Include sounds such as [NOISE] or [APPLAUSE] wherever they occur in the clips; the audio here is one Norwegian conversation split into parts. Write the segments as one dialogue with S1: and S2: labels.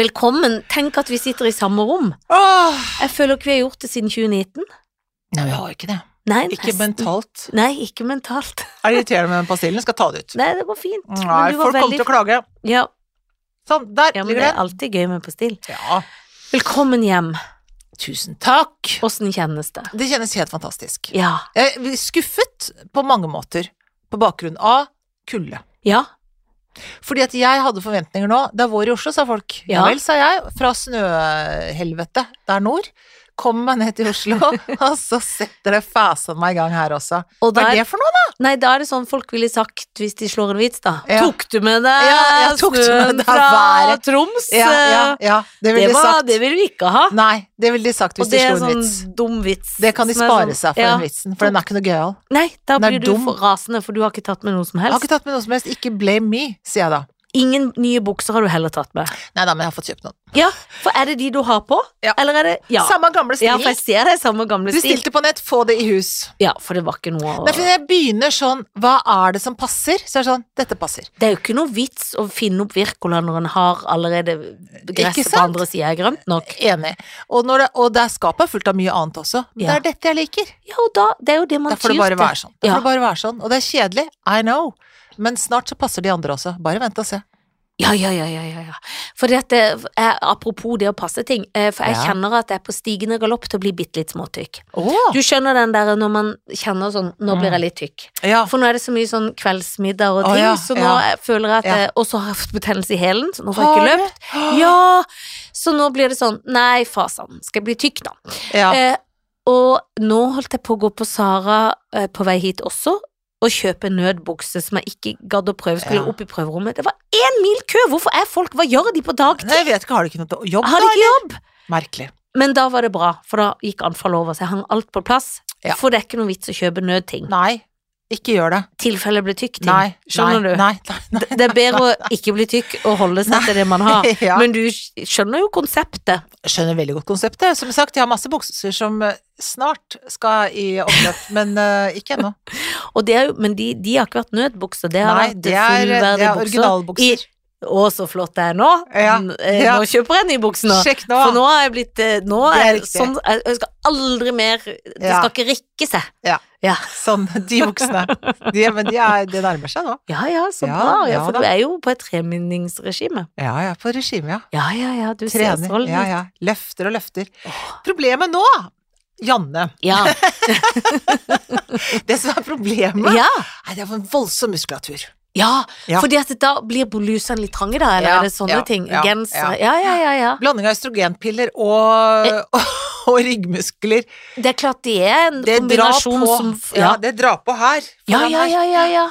S1: Velkommen. Tenk at vi sitter i samme rom.
S2: Åh!
S1: Jeg føler ikke vi har gjort det siden 2019.
S2: Nei, vi har ikke det.
S1: Nei,
S2: Ikke
S1: nesten.
S2: mentalt.
S1: Nei, ikke mentalt.
S2: Er det irriterende med den pastillen. Skal ta det ut.
S1: Nei, det var fint. men
S2: Nei,
S1: du var
S2: folk kommer til å klage.
S1: ja,
S2: Sånn, der
S1: ja, men det
S2: ligger
S1: er
S2: den.
S1: alltid gøy med pastill.
S2: Ja.
S1: Velkommen hjem.
S2: Tusen takk.
S1: Åssen kjennes det?
S2: Det kjennes helt fantastisk.
S1: Ja.
S2: Jeg er skuffet på mange måter på bakgrunn av kulde.
S1: Ja.
S2: Fordi at jeg hadde forventninger nå. Det er vår i Oslo, sa folk. Ja
S1: Ja.
S2: vel, sa jeg. Fra snøhelvete der nord. Kom meg ned til
S1: [LAUGHS]
S2: Oslo, og så setter det fasen meg i gang her også.
S1: Og
S2: Hva
S1: der-
S2: er det for noe, da?
S1: Nei, da er det sånn folk ville sagt hvis de slår en vits, da.
S2: Ja.
S1: Tok du med deg
S2: Ja, ja, tok du med
S1: snøen
S2: deg
S1: fra
S2: været?
S1: Troms?
S2: Ja, ja, ja. Det
S1: det,
S2: ville de
S1: var,
S2: sagt.
S1: det vil vi ikke ha.
S2: Nei, det ville de sagt hvis
S1: Og
S2: de
S1: det
S2: slo
S1: er
S2: en
S1: sånn
S2: vits.
S1: dum vits.
S2: Det kan de
S1: som er
S2: spare
S1: sånn-
S2: seg for
S1: ja.
S2: den vitsen, for den er ikke noe gøyal.
S1: Nei, da
S2: Den er
S1: blir du
S2: dum.
S1: for rasende, for du har ikke tatt med noe som
S2: Jeg har
S1: helst.
S2: ikke tatt med noe som helst. Ikke blame me, sier jeg da.
S1: Ingen nye bukser har du heller tatt med.
S2: Nei da, men jeg har fått kjøpt noen.
S1: Ja, for er det de du har på?
S2: Ja.
S1: Eller er det Ja,
S2: Samme gamle
S1: ja for jeg
S2: stilen.
S1: ser det er samme gamle stil.
S2: Bestilte på nett, få det i hus.
S1: Ja, for det var ikke noe å
S2: Nei, for når jeg begynner sånn, hva er det som passer? Så er det sånn, dette passer.
S1: Det er jo ikke noe vits å finne opp Wirkola når en har allerede
S2: Ikke
S1: gresset på
S2: sant?
S1: andre sida er grønt nok.
S2: Enig. Og, når det, og det er skapet fullt av mye annet også. Men
S1: Ja.
S2: det er dette jeg liker.
S1: Ja, og da Det er jo det man
S2: Da får det
S1: tyr
S2: bare
S1: til.
S2: være sånn. Da
S1: Ja.
S2: får det bare være sånn. Og det er kjedelig, I know. Men snart så passer de andre også. Bare vent og se.
S1: Ja, ja, ja, ja, ja, ja. For dette, jeg, eh, apropos det å passe ting, eh, for jeg
S2: Ja.
S1: kjenner at jeg er på stigende galopp til å bli bitte litt småtykk.
S2: Åh.
S1: Du skjønner den der når man kjenner sånn, nå
S2: Mm.
S1: blir jeg litt tykk.
S2: Ja.
S1: For nå er det så mye sånn kveldsmiddag og
S2: Å,
S1: ting,
S2: ja,
S1: så nå
S2: ja.
S1: jeg føler jeg at
S2: Ja.
S1: jeg også har fått betennelse i hælen, så nå får jeg ikke løpt.
S2: Ja.
S1: Ja, så nå blir det sånn, nei, fasan, skal jeg bli tykk da?
S2: ja.
S1: Eh, og nå holdt jeg på å gå på Sara eh, på vei hit også, og kjøpe en nødbukse som jeg ikke gadd å prøve, skulle
S2: Ja.
S1: opp i prøverommet. Det var én mil kø! Hvorfor er folk Hva gjør de på dagtid?
S2: Nei, jeg vet ikke, har du ikke noe jobb
S1: Har
S2: da?
S1: de ikke jobb?
S2: Merkelig.
S1: Men da var det bra, for da gikk anfallet over, så jeg hang alt på plass.
S2: Ja.
S1: For det er ikke noe vits å kjøpe nødting.
S2: Nei, ikke gjør det.
S1: I tilfelle jeg blir tykk ting.
S2: Nei,
S1: Skjønner
S2: nei,
S1: du?
S2: Nei, nei, nei.
S1: Det er bedre å ikke bli tykk og holde seg til det man har.
S2: [LAUGHS] [LAUGHS] Ja.
S1: Men du skjønner jo konseptet.
S2: skjønner veldig godt konseptet. Som sagt, jeg har masse bukser som eh, snart skal i oppløp, [LAUGHS] men eh, ikke ennå.
S1: Og det er jo, men de, de har ikke vært nødbukser, det har
S2: Nei,
S1: vært
S2: det er, eh, det
S1: fullverdige
S2: er
S1: bukser. I-
S2: originalbukser.
S1: Å, så flott det er nå.
S2: Ja,
S1: N- eh,
S2: ja.
S1: Nå kjøper jeg en ny bukse nå.
S2: Sjekk nå.
S1: For nå er jeg blitt eh, Nå
S2: Det er
S1: er,
S2: riktig.
S1: sånn jeg, jeg skal aldri mer Det
S2: Ja.
S1: skal ikke rikke seg.
S2: Sånn, de buksene. De, men de er, det nærmer seg nå.
S1: Ja ja, så
S2: Ja,
S1: bra. Ja,
S2: ja
S1: for
S2: da.
S1: du er jo på et treminningsregime.
S2: Ja, jeg er på regime, ja.
S1: Ja ja ja, du ser
S2: Trener.
S1: strålende ut.
S2: Ja, ja. Løfter og løfter. Problemet nå, Janne
S1: Ja.
S2: Det som er problemet,
S1: ja.
S2: er at jeg får en voldsom muskulatur.
S1: Ja,
S2: Ja.
S1: fordi at da blir blusene litt trange, da? Eller
S2: Ja,
S1: er det sånne
S2: ja,
S1: ting?
S2: ja,
S1: Gensere? Ja, ja, ja, ja.
S2: Blanding av østrogenpiller og, og, [LAUGHS] og ryggmuskler.
S1: Det er klart det er en
S2: Det drar på.
S1: kombinasjon som
S2: Ja,
S1: ja.
S2: det drar på her.
S1: Ja,
S2: foran
S1: ja,
S2: her.
S1: ja, ja, ja.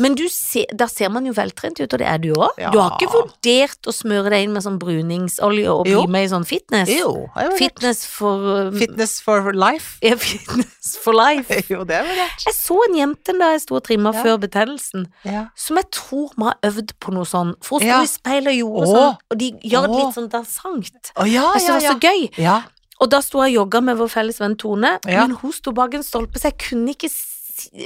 S1: Men du ser, der ser man jo veltrent ut, og det er du òg.
S2: Ja.
S1: Du har ikke vurdert å smøre deg inn med sånn bruningsolje og bli
S2: Jo.
S1: med i sånn fitness?
S2: Jo, har jeg vært.
S1: Fitness for um,
S2: Fitness for life. [LAUGHS]
S1: [LAUGHS] ja, Fitness for life.
S2: Jo, det er vel det.
S1: Jeg så en jente da jeg sto og trimma
S2: Ja.
S1: før betennelsen,
S2: Ja.
S1: som jeg tror må ha øvd på noe sånn. For hun sto
S2: Ja.
S1: i speilet og gjorde
S2: Åh.
S1: sånn, og de gjør det
S2: Åh.
S1: litt sånn dansant.
S2: Å ja,
S1: Jeg synes
S2: ja,
S1: det
S2: ja.
S1: var så gøy.
S2: ja.
S1: Og da sto jeg og jogga med vår felles venn Tone,
S2: Ja.
S1: men hun sto bak en stolpe, så jeg kunne ikke si,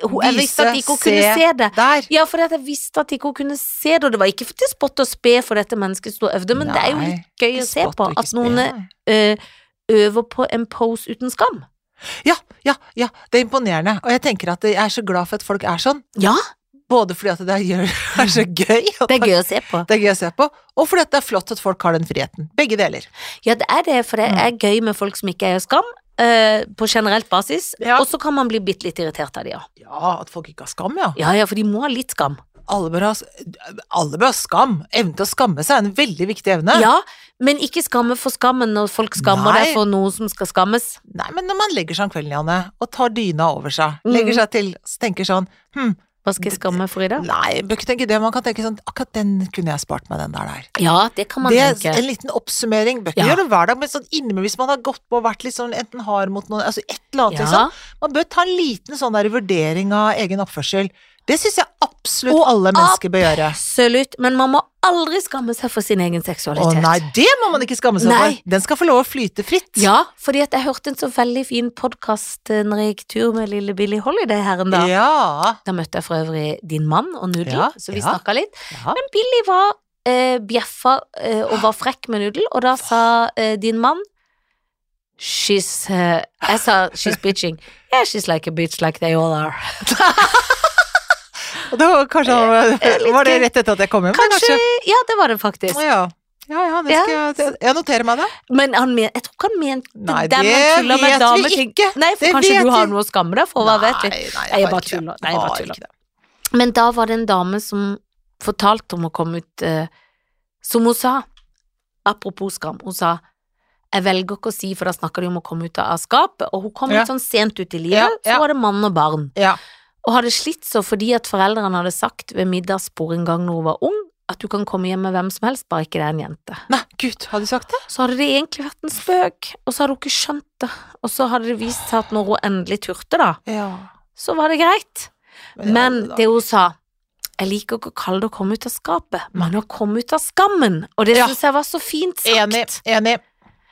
S1: hun, Jeg
S2: Vise,
S1: visste at ikke hun
S2: se.
S1: kunne se det.
S2: Der.
S1: Ja, for jeg visste at ikke hun kunne se det, og det var ikke til spott og spe for dette mennesket sto og øvde, men det er jo
S2: Nei,
S1: litt gøy å
S2: ikke
S1: se
S2: spott
S1: på
S2: og ikke
S1: at noen
S2: spe, nei.
S1: eh, øver på en pose uten skam.
S2: Ja, ja, ja. Det er imponerende. Og jeg tenker at jeg er så glad for at folk er sånn.
S1: Ja,
S2: Både fordi at det er, [LAUGHS] er så gøy, og
S1: det er gøy å se på.
S2: det er gøy å se på, og fordi at det er flott at folk har den friheten. Begge deler.
S1: Ja, det er det, for det
S2: Mm.
S1: er gøy med folk som ikke eier skam, eh, på generelt basis,
S2: Ja.
S1: og så kan man bli bitte litt irritert av de, ja.
S2: Ja, at folk ikke har skam, ja.
S1: Ja, ja, for de må ha litt skam.
S2: Alle bør ha, alle bør ha skam. Evnen til å skamme seg er en veldig viktig evne.
S1: Ja, men ikke skamme for skammen når folk skammer
S2: Nei.
S1: deg for noe som skal skammes.
S2: Nei, men når man legger seg om kvelden, Janne, og tar dyna over seg,
S1: Mm.
S2: legger seg til, så tenker sånn, hm,
S1: Hva skal jeg skamme for i dag?
S2: Nei, bør ikke tenke det. Man kan tenke sånn Akkurat den kunne jeg spart meg, den der der.
S1: Ja, det kan man
S2: Det er
S1: tenke.
S2: en liten oppsummering. Bør ikke
S1: Ja.
S2: gjøre det hver dag, men sånn innimellom hvis man har gått på og vært litt sånn enten hard mot noen, altså et eller annet,
S1: Ja.
S2: liksom. Man bør ta en liten sånn der vurdering av egen oppførsel. Det syns jeg absolutt
S1: Og
S2: alle mennesker bør gjøre.
S1: Absolutt, men man må aldri skamme seg for sin egen
S2: Å
S1: seksualitet.
S2: nei, det må man ikke skamme seg
S1: Nei.
S2: for. Den skal få lov å flyte fritt.
S1: Ja, fordi at jeg hørte en så veldig fin podkast når jeg gikk tur med lille Billie Holiday her en dag.
S2: Ja.
S1: Da møtte jeg for øvrig din mann og Nudel,
S2: Ja,
S1: så vi
S2: ja.
S1: snakka litt.
S2: Ja.
S1: Men Billie var eh, bjeffa eh, og var frekk med nudel, og da sa eh, din mann She's eh, Jeg sa she's bitching. [LAUGHS] Yeah, she's like a bitch like they all are.
S2: Og Det var kanskje
S1: eh, litt
S2: Var det
S1: gøy.
S2: rett etter at jeg kom hjem?
S1: Kanskje, Ja, det var det faktisk.
S2: Å Ja. Ja, ja, det skal jeg, jeg noterer meg det.
S1: Men han men, jeg tror ikke han mente
S2: Nei,
S1: der
S2: det
S1: man tuller med
S2: vet vi
S1: dameting.
S2: ikke.
S1: Nei, for
S2: Det
S1: kanskje
S2: vet
S1: du har
S2: vi-
S1: noe å skamme deg for, hva vet vi.
S2: Nei, nei,
S1: Jeg
S2: har
S1: bare
S2: ikke det.
S1: tuller. Nei, jeg bare
S2: Har ikke
S1: tuller.
S2: det.
S1: Men da var det en dame som fortalte om å komme ut eh, Som hun sa, apropos skam, hun sa jeg velger ikke å si, for da snakker de om å komme ut av skapet, og hun kom
S2: Ja.
S1: litt sånn sent ut i livet,
S2: Ja, ja.
S1: så var det mann og barn.
S2: Ja.
S1: Og hadde slitt så fordi at foreldrene hadde sagt ved middagsbord en gang når hun var ung, at du kan komme hjem med hvem som helst, bare ikke det er en jente.
S2: Nei, gud, har du sagt det?
S1: Så hadde det egentlig vært en spøk, og så hadde hun ikke skjønt det. Og så hadde det vist seg at når hun endelig turte, da,
S2: Ja.
S1: så var det greit. Men
S2: ja, da-
S1: det hun sa Jeg liker ikke å kalle det å komme ut av skapet, men å komme ut av skammen. Og det
S2: Ja.
S1: synes syns jeg var så fint sagt.
S2: Enig. enig.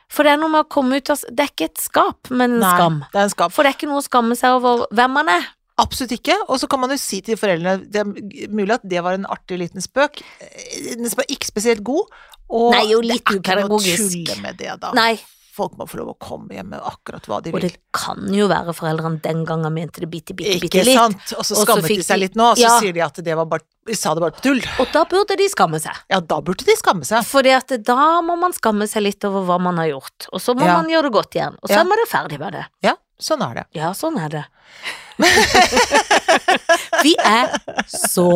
S1: For det er noe med å komme ut av s- Det er ikke et skap, men en
S2: Nei,
S1: skam.
S2: Det er en skam.
S1: For det er ikke noe å skamme seg over hvem man er.
S2: Absolutt ikke. Og så kan man jo si til foreldrene Det er mulig at det var en artig liten spøk. Eh, Den var ikke spesielt god. Og
S1: Nei, jo, litt
S2: det er ikke noe å
S1: upedagogisk.
S2: tulle med det, da.
S1: Nei.
S2: Folk må få lov å komme hjem med akkurat hva de vil.
S1: Og det kan jo være foreldrene den gangen mente det bitte, bitte, bitte
S2: Ikke
S1: litt.
S2: sant? Og så
S1: Og så
S2: skammet
S1: fikk
S2: de seg
S1: de-
S2: litt nå, og så
S1: Ja.
S2: sier de at det var bare de sa det bare på tull.
S1: Og da burde de skamme seg.
S2: Ja, da burde de skamme seg.
S1: Fordi at da må man skamme seg litt over hva man har gjort, og så må
S2: Ja.
S1: man gjøre det godt igjen, og så
S2: Ja.
S1: er man ferdig med det.
S2: Ja, sånn er det.
S1: Ja, sånn er det. [LAUGHS] Vi er så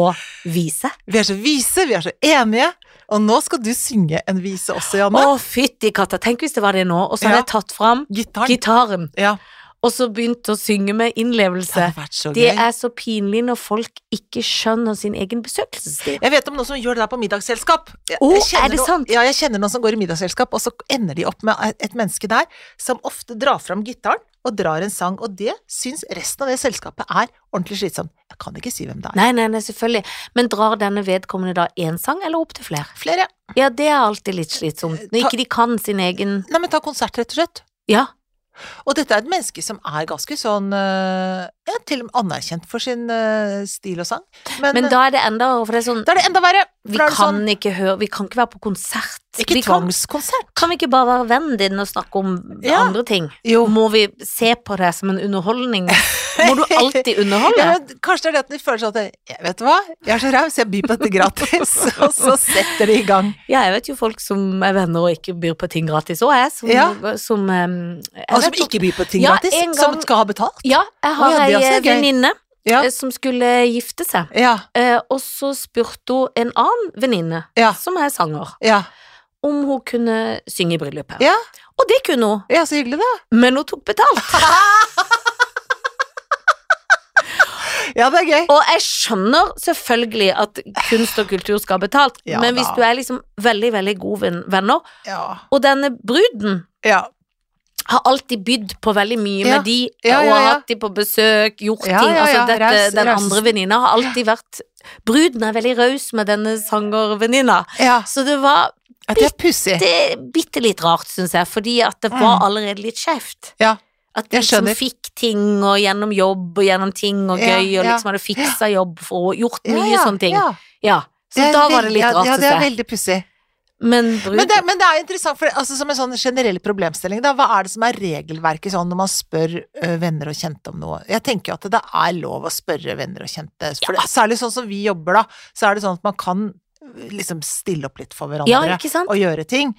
S1: vise.
S2: Vi er så vise, vi er så enige. Og nå skal du synge en vise også,
S1: Å,
S2: Janne.
S1: fytti katta, tenk hvis det var det nå, og så hadde
S2: Ja.
S1: jeg tatt fram
S2: Gitaren.
S1: gitaren,
S2: ja,
S1: og så begynt å synge med
S2: det
S1: innlevelse.
S2: har vært så
S1: Det
S2: gøy.
S1: er så pinlig når folk ikke skjønner sin egen besøkelsestid.
S2: Jeg vet om noen som gjør det der på middagsselskap. Jeg-
S1: Å,
S2: jeg kjenner
S1: er det
S2: noen-
S1: sant?
S2: Ja, jeg kjenner noen som går i middagsselskap, og så ender de opp med et menneske der som ofte drar fram gitaren og drar en sang, og det syns resten av det selskapet er ordentlig slitsomt. Jeg kan ikke si hvem det er.
S1: Nei, nei, nei, selvfølgelig. Men drar denne vedkommende da én sang, eller opp til flere?
S2: Flere.
S1: Ja, det er alltid litt slitsomt, når ikke de kan sin egen
S2: Nei, men ta konsert, rett og slett.
S1: Ja.
S2: Og dette er et menneske som er ganske sånn øh, Ja, til og med anerkjent for sin øh, stil og sang. Men, eh,
S1: Men da er det enda verre, for det er sånn
S2: da er det enda verre! for
S1: Vi
S2: da er det
S1: kan
S2: sånn,
S1: ikke høre Vi kan ikke være på konsert.
S2: Ikke
S1: vi kan,
S2: tvangskonsert.
S1: kan vi ikke bare være vennen din og snakke om
S2: Ja.
S1: andre ting?
S2: Jo.
S1: Må vi se på det som
S2: [LAUGHS]
S1: en underholdning? Må du alltid underholde?
S2: Ja, men kanskje det er det at de føler sånn at jeg vet du hva, jeg er så raus, jeg byr på dette gratis, [LAUGHS] og så setter de i gang.
S1: Ja, jeg vet jo folk som er venner og ikke byr på ting gratis òg, jeg. Som,
S2: Ja.
S1: som em, jeg
S2: Og som
S1: vet jo-
S2: ikke byr på ting
S1: Ja,
S2: gratis,
S1: en
S2: som
S1: gang-
S2: skal ha betalt.
S1: Ja, jeg har
S2: Å, ja, det
S1: ei
S2: også er
S1: eh,
S2: gøy.
S1: venninne
S2: Ja.
S1: eh, som skulle gifte seg,
S2: Ja,
S1: eh, og så spurte hun en annen venninne,
S2: Ja.
S1: som er sanger,
S2: ja.
S1: om hun kunne synge i bryllupet.
S2: Ja.
S1: Og det kunne hun.
S2: ja så hyggelig, da.
S1: Men hun tok betalt.
S2: Ja, det er gøy.
S1: Og jeg skjønner selvfølgelig at kunst og kultur skal ha betalt,
S2: Ja
S1: men hvis
S2: da.
S1: du er liksom veldig, veldig gode ven- venner,
S2: Ja.
S1: og denne bruden
S2: ja.
S1: har alltid bydd på veldig mye
S2: Ja.
S1: med de,
S2: Ja,
S1: og
S2: ja,
S1: har
S2: ja.
S1: hatt de på besøk, gjort
S2: Ja,
S1: ting,
S2: ja,
S1: altså
S2: ja.
S1: dette,
S2: Raus-
S1: den
S2: raus.
S1: andre venninna har alltid vært Bruden er veldig raus med denne sangervenninna,
S2: ja.
S1: så det var
S2: At det er pussig.
S1: bitte litt rart, syns jeg, fordi at det var allerede litt skjevt.
S2: Mm. Ja.
S1: At de
S2: Jeg
S1: liksom
S2: skjønner.
S1: fikk ting, og gjennom jobb, og gjennom ting, og
S2: Ja,
S1: gøy, og
S2: ja.
S1: liksom hadde fiksa jobb for og gjort mye
S2: ja,
S1: sånne ting.
S2: Ja.
S1: Ja, så
S2: Det er
S1: da var det litt
S2: veldig-
S1: rart,
S2: Ja,
S1: synes
S2: det er
S1: jeg.
S2: veldig pussig.
S1: Men brud
S2: Men det, men det er interessant, for altså, som en sånn generell problemstilling, da, hva er det som er regelverket sånn når man spør ø, venner og kjente om noe? Jeg tenker jo at det er lov å spørre venner og kjente, for det, særlig sånn som vi jobber da, så er det sånn at man kan ø, liksom stille opp litt for
S1: Ja,
S2: hverandre
S1: ikke sant?
S2: og gjøre ting.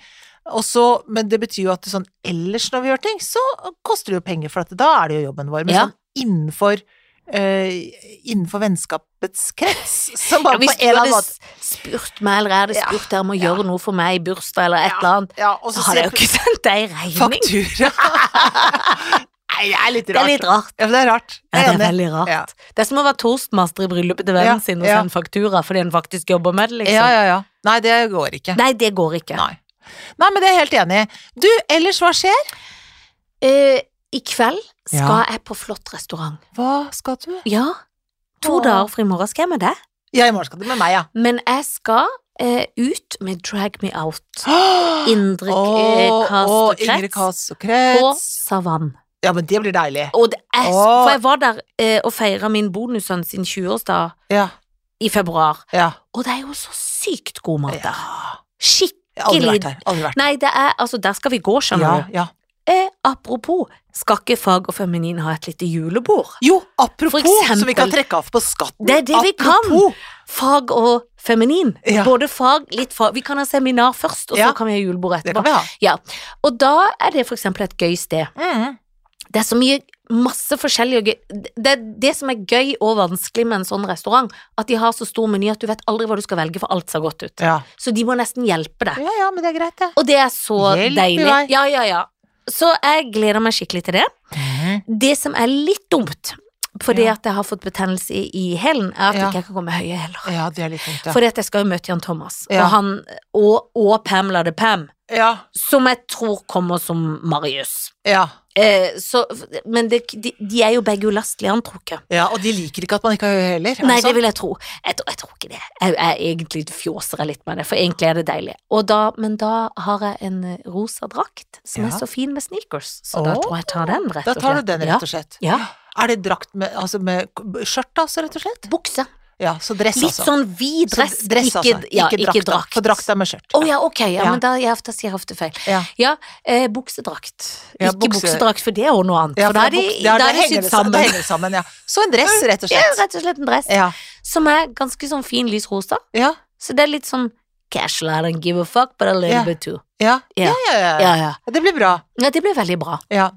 S2: Og så, men det betyr jo at det sånn ellers når vi gjør ting, så koster det jo penger, for at da er det jo jobben vår. Men
S1: Ja.
S2: sånn innenfor ø, innenfor vennskapets krets, [LAUGHS] så bare
S1: Hvis
S2: på
S1: du
S2: en eller annen
S1: hadde
S2: måte
S1: spurt meg, eller jeg hadde
S2: Ja,
S1: spurt deg om å
S2: ja.
S1: gjøre noe for meg i bursdag, eller et
S2: Ja,
S1: eller annet,
S2: ja, og så
S1: så hadde
S2: ser
S1: jeg jo ikke sendt deg en regning. [LAUGHS]
S2: Faktura. Nei, det er litt
S1: Det er
S2: rart.
S1: litt rart.
S2: Ja, for det er rart.
S1: Ja, det
S2: Jeg
S1: er
S2: enig.
S1: veldig rart.
S2: Ja.
S1: Det er som å være toastmaster i bryllupet til
S2: Ja,
S1: vennen sin og
S2: ja.
S1: sende faktura fordi han faktisk jobber med det, liksom.
S2: Ja, ja, ja. Nei, det går ikke.
S1: Nei, det går ikke.
S2: Nei. Nei, men det er jeg helt enig i. Du, ellers hva skjer?
S1: Eh, I kveld skal
S2: Ja.
S1: jeg på flott restaurant.
S2: Hva skal du?
S1: Ja. To
S2: Åh.
S1: dager for i morgen skal jeg med deg.
S2: Ja, i morgen skal du med meg,
S1: [GASPS]
S2: ja.
S1: Men jeg skal eh, ut med Drag Me Out.
S2: Åh,
S1: Indre eh,
S2: åh,
S1: Kast og
S2: Ingrid
S1: Krets.
S2: Kast og
S1: På
S2: Krets.
S1: Savann.
S2: Ja, men det blir deilig.
S1: Og det er,
S2: Åh.
S1: For jeg var der eh, og feira min bonussønn sin 20-årsdag
S2: Ja.
S1: i februar.
S2: Ja.
S1: Og det er jo så sykt god mat
S2: ja.
S1: der.
S2: Jeg har aldri
S1: Skikkelig
S2: vært her. Aldri vært.
S1: Nei, det er Altså, der skal vi gå, skjønner
S2: Ja,
S1: du.
S2: ja.
S1: Eh, apropos, skal ikke fag og feminin ha et lite julebord?
S2: Jo, apropos,
S1: For eksempel-
S2: som vi kan trekke av på skatten.
S1: Det er det vi kan.
S2: Apropos.
S1: Fag og feminin.
S2: Ja.
S1: Både fag, litt fag Vi kan ha seminar først, og
S2: Ja.
S1: så kan vi ha julebord
S2: Det kan
S1: etterpå.
S2: vi ha.
S1: Og da er det for eksempel et gøy sted.
S2: Mm.
S1: Det er så mye masse forskjellig og gøy Det er det som er gøy og vanskelig med en sånn restaurant, at de har så stor meny at du vet aldri hva du skal velge, for alt ser godt ut.
S2: Ja.
S1: Så de må nesten hjelpe deg.
S2: ja, ja, men det er greit, det.
S1: Og det er så
S2: Hjelp i
S1: deilig.
S2: vei.
S1: Ja, ja, ja. Så jeg gleder meg skikkelig til det. Det som er litt dumt, fordi
S2: Ja.
S1: at jeg har fått betennelse i, i hælen, er at
S2: Ja.
S1: ikke jeg kan gå med høye hæler.
S2: Ja, det er litt vondt, ja.
S1: Fordi at jeg skal jo møte Jan Thomas,
S2: Ja.
S1: og, han, og, og Pamela de Pam,
S2: ja,
S1: som jeg tror kommer som Marius.
S2: ja,
S1: Eh, så, men det, de, de er jo begge ulastelige antrukket.
S2: ja, og de liker ikke at man ikke har høye hæler. er
S1: Nei,
S2: sant?
S1: det vil jeg tro. Jeg, tror- jeg tror ikke det. Jeg, jeg egentlig fjåser jeg litt med det, for egentlig er det deilig. Og da, men da har jeg en eh, rosa drakt som
S2: Ja.
S1: er så fin med sneakers, så da
S2: Åh,
S1: tror jeg jeg tar den, rett
S2: Da
S1: og slett.
S2: tar du den, rett og slett.
S1: Ja.
S2: Er det drakt med, altså med k- skjørt, altså, rett og slett?
S1: ja. Bukse.
S2: Ja, så dress,
S1: Litt
S2: altså.
S1: sånn vid
S2: Så
S1: dress,
S2: dress,
S1: ikke,
S2: altså.
S1: ja,
S2: ikke drakt. da, For drakt er med skjørt.
S1: Å ja, ok, ja,
S2: Ja.
S1: men da, ja, da sier jeg ofte feil.
S2: Ja.
S1: eh, buksedrakt.
S2: Ja,
S1: ikke
S2: bukse-
S1: buksedrakt, for det er jo noe annet.
S2: Ja,
S1: for da er
S2: det
S1: de,
S2: buks-
S1: da
S2: ja, det
S1: er de
S2: henger
S1: sydd
S2: det sa- det
S1: sammen.
S2: henger sammen, ja. Så en dress, rett og
S1: Ja,
S2: slett.
S1: rett og slett en dress
S2: Ja,
S1: som er ganske sånn fin lys rosa.
S2: ja,
S1: Så det er litt sånn casual, I don't give a fuck, but a little
S2: Ja.
S1: bit too.
S2: ja, ja,
S1: Ja.
S2: ja, ja.
S1: Ja, ja.
S2: Det blir bra.
S1: ja det blir veldig bra.
S2: Ja.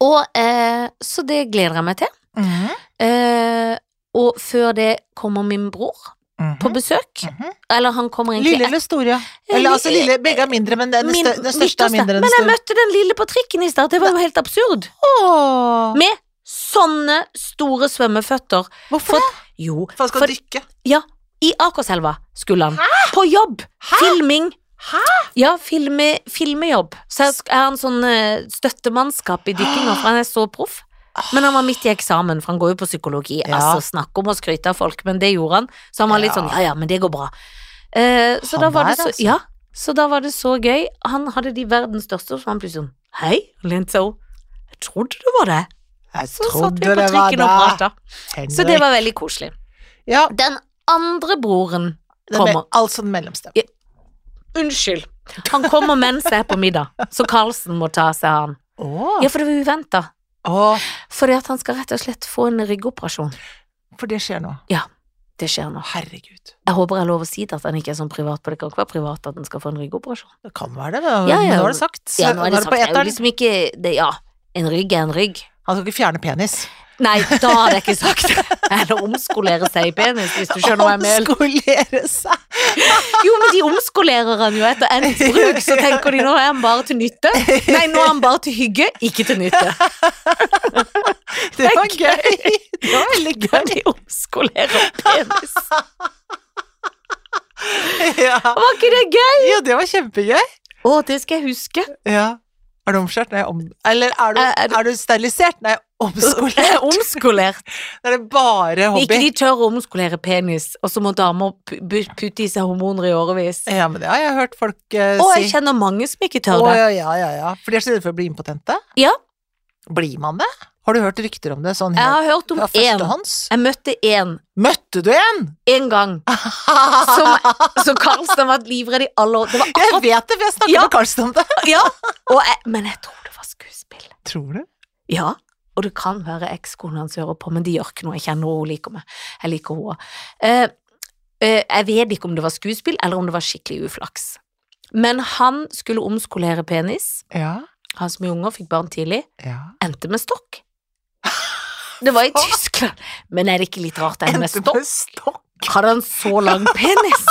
S1: Og eh, så det gleder jeg meg til.
S2: Mhm,
S1: Eh, og før det kommer min bror
S2: mhm,
S1: på besøk.
S2: mhm.
S1: Eller han kommer egentlig Eh,
S2: Lille eller store? Eller altså lille, begge er mindre, men den,
S1: Min-
S2: stør, den
S1: mitt
S2: største er
S1: hos deg.
S2: mindre enn den
S1: Men jeg
S2: store.
S1: møtte den lille på trikken i stad, det var jo helt absurd.
S2: Åh,
S1: Med sånne store svømmeføtter.
S2: Hvorfor
S1: For,
S2: det?
S1: jo,
S2: For han skal
S1: for-
S2: dykke.
S1: ja, i Akerselva skulle han. På jobb!
S2: Hæ?
S1: Filming.
S2: Hæ?
S1: Ja, filme, filmejobb. Så jeg sk- er han sånn eh, støttemannskap i dykkinga, for han er så proff. Men han var midt i eksamen, for han går jo på psykologi.
S2: Ja.
S1: Altså, Snakk om å skryte av folk, men det gjorde han. Så han var litt
S2: Ja.
S1: sånn ja ja, men det går bra. Eh, så,
S2: Han
S1: da var det
S2: der,
S1: så,
S2: altså.
S1: ja, så da var det så gøy. Han hadde de verdens største, så han plutselig sånn Hei, lente seg om. Jeg trodde det var det.
S2: Jeg
S1: Så satt vi på trikken og prata. Så det var veldig koselig.
S2: Ja,
S1: Den andre broren
S2: den me-
S1: Kommer.
S2: altså den mellomste.
S1: Unnskyld. Han kommer mens jeg er på middag, så Karlsen må ta seg av han.
S2: Åh,
S1: Ja, for det var uventa.
S2: Åh,
S1: Fordi at han skal rett og slett få en ryggoperasjon.
S2: for det skjer nå.
S1: Det skjer nå.
S2: Herregud.
S1: Jeg håper jeg har lov å si det, at han ikke er sånn privat, for det kan ikke være privat at han skal få en ryggoperasjon.
S2: Det kan være det, men
S1: Ja, ja.
S2: nå er det sagt.
S1: Ja, nå er det
S2: på
S1: sagt, det er jo
S2: eteren.
S1: liksom ikke det, Ja, en rygg er en rygg.
S2: Han skal ikke fjerne penis.
S1: Nei, da hadde jeg ikke sagt [LAUGHS] det. Eller omskolere seg i penis, hvis du skjønner hva jeg mener.
S2: Omskolere
S1: [LAUGHS]
S2: seg.
S1: Jo, men de omskolerer han jo etter endt bruk, så tenker de nå er han bare til nytte. Nei, nå er han bare til hygge, ikke til nytte. [LAUGHS]
S2: Det var gøy. Det var veldig
S1: Ja,
S2: gøy.
S1: de omskolerer penis.
S2: Ja.
S1: Var ikke det gøy?
S2: Jo, det var kjempegøy.
S1: Å, det skal jeg huske.
S2: Ja. Er du omskjært? Nei, om... Eller er du,
S1: Er- er du-
S2: er du sterilisert? Nei,
S1: Jeg
S2: omskolert.
S1: er [LAUGHS] omskolert.
S2: Da er det bare
S1: Ikke
S2: hobby.
S1: de tør å omskolere penis, og så må damer pu- bu- putte i seg hormoner i årevis.
S2: Ja, men det har jeg hørt folk eh,
S1: Å, jeg
S2: si.
S1: kjenner mange som ikke
S2: Å,
S1: tør det.
S2: ja, ja, ja, ja. For de er så redde for å bli impotente?
S1: Ja.
S2: Blir man det? Har du hørt rykter om det sånn
S1: Jeg
S2: helt
S1: har hørt om
S2: fra
S1: én.
S2: førstehånds?
S1: Jeg møtte én.
S2: Møtte du en?
S1: Én [LAUGHS] gang. Som, så Karlsen har vært livredd i alle år. Det var
S2: Jeg
S1: akkurat
S2: vet det, for jeg snakket
S1: Ja.
S2: med Karlsen om det.
S1: [LAUGHS] Ja. Og jeg, men jeg tror det var skuespill.
S2: Tror du?
S1: Ja, og det kan være ekskonen hans hører på, men det gjør ikke noe, jeg kjenner henne, hun liker meg. Jeg liker henne også. Eh, eh, jeg vet ikke om det var skuespill, eller om det var skikkelig uflaks. Men han skulle omskolere penis.
S2: Ja.
S1: Han som er unger, fikk barn tidlig.
S2: ja.
S1: Endte med stokk. Det var i Tyskland. Men er det ikke litt rart det ender med stokk?
S2: stokk.
S1: Hadde han så lang penis?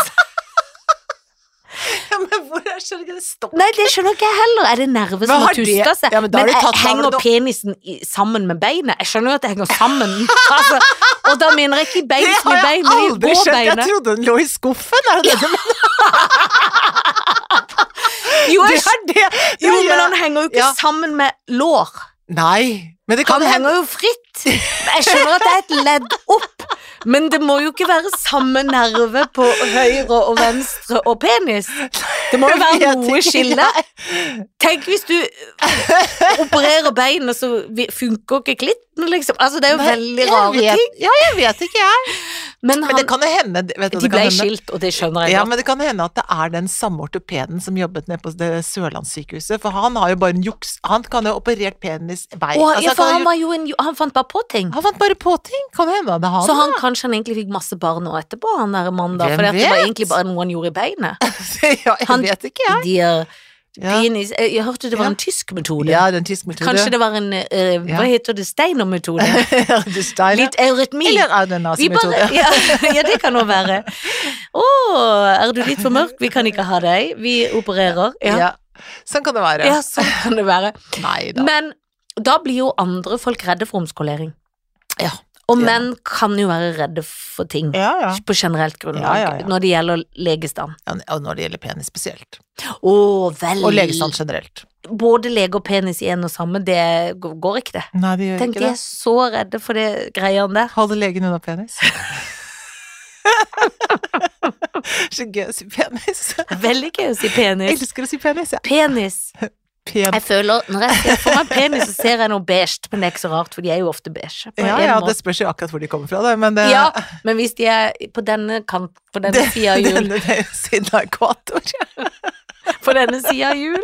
S2: Ja, men hvor er skjønner ikke det stokk?
S1: Nei, det skjønner ikke jeg heller. Er det nerver
S2: Men
S1: som
S2: har
S1: har
S2: det-
S1: tuska seg?
S2: Ja, men
S1: men
S2: da har du tatt-
S1: jeg
S2: da har
S1: henger
S2: du da-
S1: penisen i, sammen med beinet. Jeg skjønner jo at det henger
S2: [LAUGHS]
S1: sammen. altså, og da mener jeg ikke bein
S2: Det
S1: som i
S2: har jeg
S1: bein, men i
S2: aldri skjønt. Jeg
S1: gåbeinet.
S2: trodde den lå i skuffen. Er det det du mener?
S1: Jo,
S2: Det
S1: jeg,
S2: er det. det
S1: jo,
S2: gjør
S1: men
S2: jeg.
S1: han henger jo ikke
S2: Ja.
S1: sammen med lår.
S2: Nei, men det kan
S1: Han
S2: hende.
S1: henger jo fritt. Jeg skjønner at det er et ledd opp, men det må jo ikke være samme nerve på høyre og venstre og penis. Det må jo
S2: Jeg
S1: være
S2: vet
S1: noe
S2: ikke. [LAUGHS]
S1: skille.
S2: Jeg
S1: Tenk hvis du eh, opererer beinet, så vi- funker ikke klitten, liksom. Altså, det er jo
S2: Nei,
S1: veldig
S2: jeg
S1: rare
S2: vet-
S1: ting.
S2: Ja, jeg vet ikke, jeg.
S1: Men, han,
S2: Men det kan jo hende vet du,
S1: de
S2: det kan
S1: ble
S2: hende-
S1: skilt, og det skjønner jeg
S2: Ja,
S1: godt.
S2: men det kan hende at det er den samme ortopeden som jobbet nede på det Sørlandssykehuset, for han har jo bare en juks... Han kan jo ha operert penis vei.
S1: Å,
S2: Altså,
S1: ja,
S2: han,
S1: for
S2: kan
S1: han,
S2: jo,
S1: var jo en, jo- han fant bare på ting.
S2: han fant bare på ting, kan det hende det er han.
S1: Så han, kanskje han egentlig fikk masse barn nå etterpå, han der mannen da,
S2: Hvem
S1: for det var
S2: vet?
S1: egentlig bare noe han gjorde i beinet.
S2: [LAUGHS] ja, jeg
S1: Han-
S2: vet ikke, jeg.
S1: De er
S2: Ja.
S1: penis Jeg eh, jeg hørte det var
S2: Ja.
S1: en tysk metode.
S2: Ja, den tyske metoden.
S1: Kanskje
S2: [LAUGHS]
S1: det var en, eh, hva
S2: Ja.
S1: heter det,
S2: [LAUGHS]
S1: Steiner-metode?
S2: Du steiler.
S1: Litt eurytmi.
S2: Eller er det en
S1: Vi
S2: nazimetode?
S1: bare, ja, [LAUGHS] ja, det kan også være. Å, er du litt for mørk? Vi kan ikke ha deg. Vi opererer.
S2: Ja.
S1: Ja,
S2: Sånn kan det være.
S1: ja sånn kan det være.
S2: Nei da.
S1: Men da blir jo andre folk redde for omskolering.
S2: Ja.
S1: Og
S2: Ja.
S1: menn kan jo være redde for ting.
S2: Ja, ja.
S1: På generelt grunnlag,
S2: Ja, ja, ja.
S1: når det gjelder legestand.
S2: Ja, Og når det gjelder penis spesielt.
S1: Å, vel.
S2: Og legestand generelt.
S1: Både lege og penis i en og samme, det g- går ikke, det.
S2: Nei, det gjør
S1: Tenk, de
S2: ikke
S1: er
S2: det.
S1: så redde for det greiene der.
S2: Holde legen unna penis. [LAUGHS] Så gøy å si penis.
S1: Veldig gøy å si
S2: Jeg
S1: penis.
S2: elsker å si penis, jeg.
S1: Penis.
S2: Pen.
S1: Jeg føler, Når jeg ser for meg penis, så ser jeg noe beige, men det er ikke så rart, for de er jo ofte beige. på
S2: Ja,
S1: en
S2: ja,
S1: måte.
S2: det spørs jo akkurat hvor de kommer fra, det, men det
S1: ja, men hvis de er på denne kant, på
S2: [LAUGHS]
S1: denne
S2: det-
S1: sida av jul
S2: denne- denne siden av ekvator.
S1: På denne sida av
S2: [LAUGHS]
S1: jul.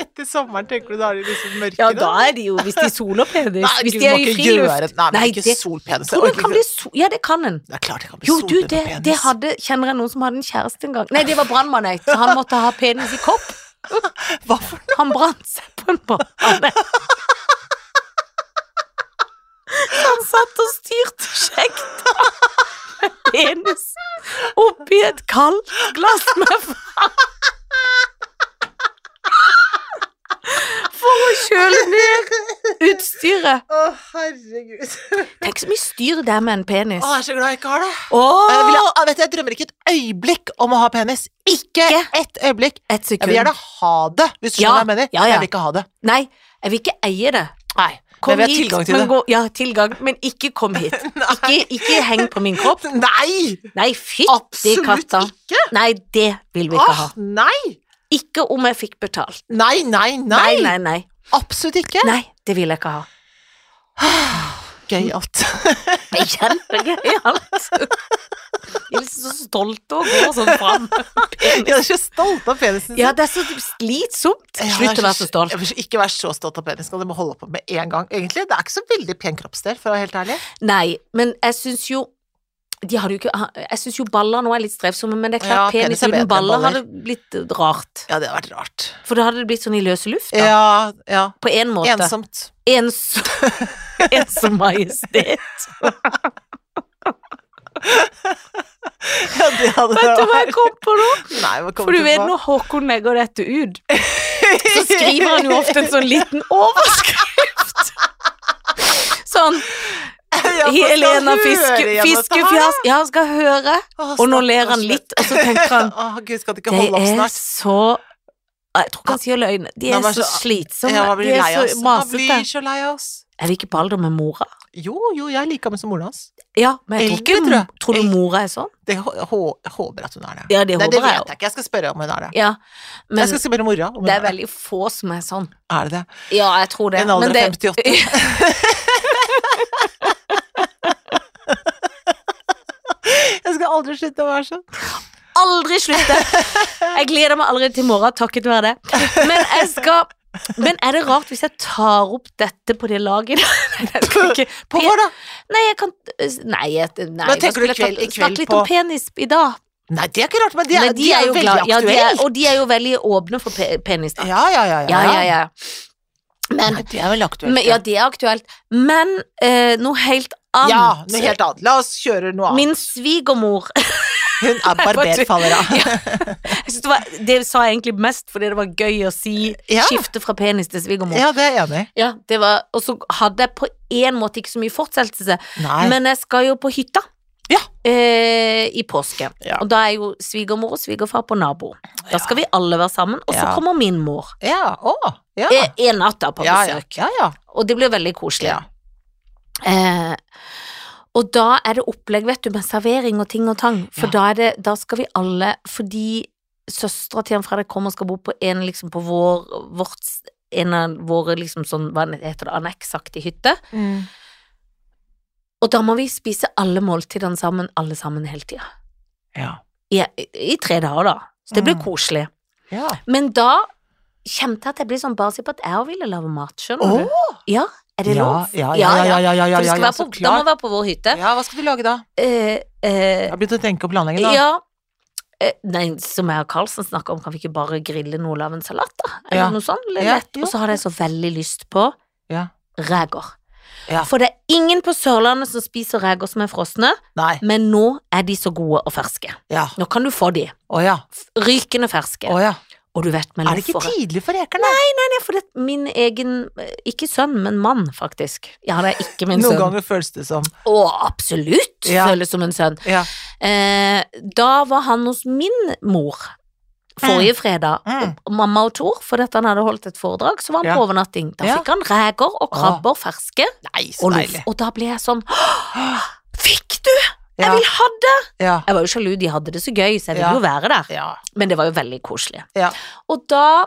S2: Etter sommeren tenker du da har de liksom mørke
S1: Ja, da er de jo Hvis de soler penis.
S2: Nei,
S1: hvis
S2: Gud,
S1: de er
S2: må
S1: i
S2: ikke
S1: friluft.
S2: gjøre- Nei, men
S1: Nei,
S2: ikke
S1: det-
S2: solpenis.
S1: Tror du det kan bli sol... Ja, det kan en.
S2: Det er klart det kan bli
S1: Jo, du,
S2: solbrent
S1: det,
S2: på penis.
S1: det hadde Kjenner jeg noen som hadde en kjæreste en gang? Nei, det var brannmann, jeg, så han måtte ha penis i kopp.
S2: [LAUGHS] Hva for noe?
S1: Han brant seg på en brannmann. Så Han satt og styrte kjekt med penis oppi et kaldt glass med vann. For å kjøle ned utstyret.
S2: Å, herregud.
S1: Tenk så mye styr det er med en penis.
S2: Å, jeg er så glad jeg ikke har det. Jeg, vil,
S1: Åh,
S2: jeg, vet, du, jeg drømmer ikke et øyeblikk om å ha penis. Ikke
S1: Ikke?
S2: et øyeblikk.
S1: et
S2: Jeg vil
S1: sekund.
S2: gjerne ha det, hvis du
S1: Ja,
S2: skjønner hva jeg mener.
S1: ja, ja.
S2: Jeg vil ikke ha det.
S1: Nei, jeg vil ikke eie det.
S2: Nei, men
S1: Kom
S2: jeg vil ha
S1: hit,
S2: tilgang til
S1: men
S2: det.
S1: gå Ja, tilgang, men ikke
S2: [LAUGHS]
S1: kom hit. Ikke, ikke heng på min kropp.
S2: Nei!
S1: Nei, fytti
S2: Absolutt
S1: katta.
S2: ikke! Ah!
S1: Nei, det vil vi ikke ha.
S2: Åh, nei!
S1: Ikke om jeg fikk betalt.
S2: Nei, nei, nei!
S1: Nei, nei, nei.
S2: Absolutt ikke.
S1: Nei, det vil jeg ikke ha.
S2: Gøyalt.
S1: Det er [LAUGHS] kjempegøyalt. De er liksom så stolte og går sånn
S2: [LAUGHS]
S1: fram.
S2: [LAUGHS] Jeg er så stolt av penisen sin.
S1: Ja, det er så slitsomt.
S2: Ja, jeg
S1: Slutt
S2: er
S1: å være så stolt.
S2: jeg vil Ikke vær så stolt av penisen, og det må holde på med en gang. Egentlig, Det er ikke så veldig pen kroppsdel, for å være helt ærlig.
S1: Nei, men jeg syns jo de hadde jo ikke, Jeg syns jo baller nå er litt strevsomme, men det er
S2: Ja,
S1: klart
S2: penis
S1: penis
S2: er bedre
S1: uten
S2: enn
S1: baller
S2: baller.
S1: hadde blitt rart.
S2: Ja, det hadde vært rart.
S1: For da hadde det blitt sånn i løse lufta.
S2: Ja, ja.
S1: På en måte.
S2: Ensomt. [LAUGHS]
S1: Ensom, [LAUGHS] ensom majestet.
S2: Ja, det hadde
S1: Vet du hva jeg kom på nå?
S2: Nei, hva kommer
S1: For du
S2: til
S1: vet
S2: hva?
S1: når Håkon legger dette ut, så skriver han jo ofte en sånn liten overskrift. Sånn
S2: [LAUGHS] Ja, for skal
S1: Helena
S2: høre
S1: Fiske,
S2: igjen dette her, da.
S1: Fiskefjas Ja, han skal høre.
S2: Å,
S1: Og nå
S2: stakkars
S1: ler han
S2: Lett.
S1: litt, og så tenker han
S2: Å, gud, [LAUGHS] skal det ikke
S1: Det
S2: holde opp
S1: er
S2: snart?
S1: så Jeg tror ikke han sier løgn. De
S2: Han
S1: er
S2: var
S1: så
S2: så-
S1: slitsomme.
S2: Ja, man
S1: De
S2: blir lei
S1: er
S2: oss.
S1: så
S2: Man blir
S1: masete.
S2: så lei oss.
S1: Er vi ikke på alder med mora?
S2: Jo, jo, jeg liker ham som moren hans.
S1: Ja, men jeg tror
S2: Eldre, tror jeg.
S1: ikke Tror du
S2: Eldre.
S1: mora er sånn?
S2: Det hå- hå- håper at hun er det.
S1: Ja, det
S2: Nei, det
S1: håper
S2: vet
S1: jeg jo.
S2: jeg ikke. Jeg skal spørre om hun er det.
S1: Ja, men
S2: jeg skal spørre mora om hun
S1: det er
S2: er det.
S1: veldig få som er sånn.
S2: Er det det?
S1: Ja, jeg tror det.
S2: En alder
S1: Men det-
S2: av 58. [LAUGHS] Jeg skal aldri slutte å være sånn.
S1: aldri slutte. Jeg gleder meg allerede til i morgen, takket være det. Men jeg skal men er det rart hvis jeg tar opp dette på det laget? [LAUGHS] Nei, jeg skal ikke-
S2: På hva da?
S1: Nei, jeg kan Nei, jeg, nei
S2: Hva tenker
S1: da
S2: du
S1: skulle jeg
S2: kveld-
S1: tatt-
S2: i kveld
S1: Snakket litt
S2: på-
S1: om penis i dag.
S2: Nei, det er ikke rart, men de er,
S1: Men
S2: de er, jo veldig
S1: glad- ja, de er,
S2: aktuelle.
S1: og de er jo veldig åpne for pe penis. Da.
S2: Ja, ja, ja.
S1: Ja, ja, ja. Men,
S2: Nei, de er vel aktuelle.
S1: men Ja, det er aktuelt. Men eh, noe helt annet.
S2: Ja, noe helt annet. La oss kjøre noe annet.
S1: Min svigermor [LAUGHS]
S2: Hun er barberfaller, da.
S1: Jeg synes det, var, det sa jeg egentlig mest fordi det var gøy å si
S2: Ja.
S1: skifte fra penis til svigermor. Ja.
S2: Ja, det er jeg enig i.
S1: det var, og så hadde jeg på en måte ikke så mye fortsettelse,
S2: Nei.
S1: men jeg skal jo på hytta.
S2: Ja.
S1: Eh, I påske.
S2: Ja.
S1: Og da er jo svigermor og svigerfar på nabo. Da skal vi alle være sammen, og så
S2: Ja.
S1: kommer min mor.
S2: Ja, å, ja.
S1: Eh, En natt da på
S2: ja, ja,
S1: besøk.
S2: ja, ja.
S1: Og det blir veldig koselig.
S2: Ja.
S1: Eh, Og da er det opplegg, vet du, med servering og ting og tang. For
S2: Ja.
S1: da, er det, da skal vi alle Fordi søstera til Jan Fredrik kommer og skal bo på en liksom på vår vårt, En av våre liksom sånn, hva heter det, anneksaktig hytte.
S2: Mm.
S1: Og da må vi spise alle måltidene sammen, alle sammen hele tida.
S2: Ja.
S1: I, I tre dager, da. Så det blir
S2: Mm.
S1: koselig.
S2: ja.
S1: Men da kjente jeg at jeg ble sånn bare si på at jeg òg ville lage mat, skjønner
S2: Åh!
S1: du. Ja, er det
S2: ja,
S1: lov?
S2: ja, ja, ja, ja, ja, ja,
S1: For det
S2: ja,
S1: skal
S2: ja,
S1: være
S2: så
S1: på, da må
S2: klart.
S1: være på vår hytte.
S2: Ja, hva skal du lage da?
S1: Eh,
S2: Jeg
S1: eh,
S2: har begynt å tenke og planlegge da.
S1: ja. Eh, Nei, som jeg og Karlsen snakker om, kan vi ikke bare grille noe av en salat, da? Eller
S2: Ja.
S1: noe sånt litt
S2: Ja,
S1: lett.
S2: jo.
S1: Og så hadde jeg så veldig lyst på
S2: Ja.
S1: reker.
S2: Ja.
S1: For det er ingen på Sørlandet som spiser reker som er frosne,
S2: Nei.
S1: men nå er de så gode og ferske.
S2: Ja.
S1: Nå kan du få de.
S2: Å ja.
S1: F- Rykende ferske.
S2: Å ja.
S1: Og du vet med
S2: Er det ikke
S1: loffere.
S2: tidlig for reker, da?
S1: Nei, for det er min egen eh, Ikke sønn, men mann, faktisk. Ja, det er ikke min
S2: Noen
S1: sønn.
S2: ganger føles det som.
S1: Å, absolutt!
S2: Ja.
S1: Føles som en sønn.
S2: Ja.
S1: Eh, da var han hos min mor forrige fredag,
S2: Mm.
S1: og mamma og Tor, fordi at han hadde holdt et foredrag, så var han
S2: Ja.
S1: på overnatting. Da
S2: Ja.
S1: fikk han reker og krabber ferske,
S2: Nei, så
S1: og, loff.
S2: deilig.
S1: og da ble jeg sånn [GASPS] Fikk du! Jeg
S2: Ja.
S1: vil ha det!
S2: Ja.
S1: Jeg var jo sjalu, de hadde det så gøy, så jeg ville
S2: Ja.
S1: jo være der.
S2: Ja.
S1: Men det var jo veldig koselig.
S2: Ja.
S1: Og da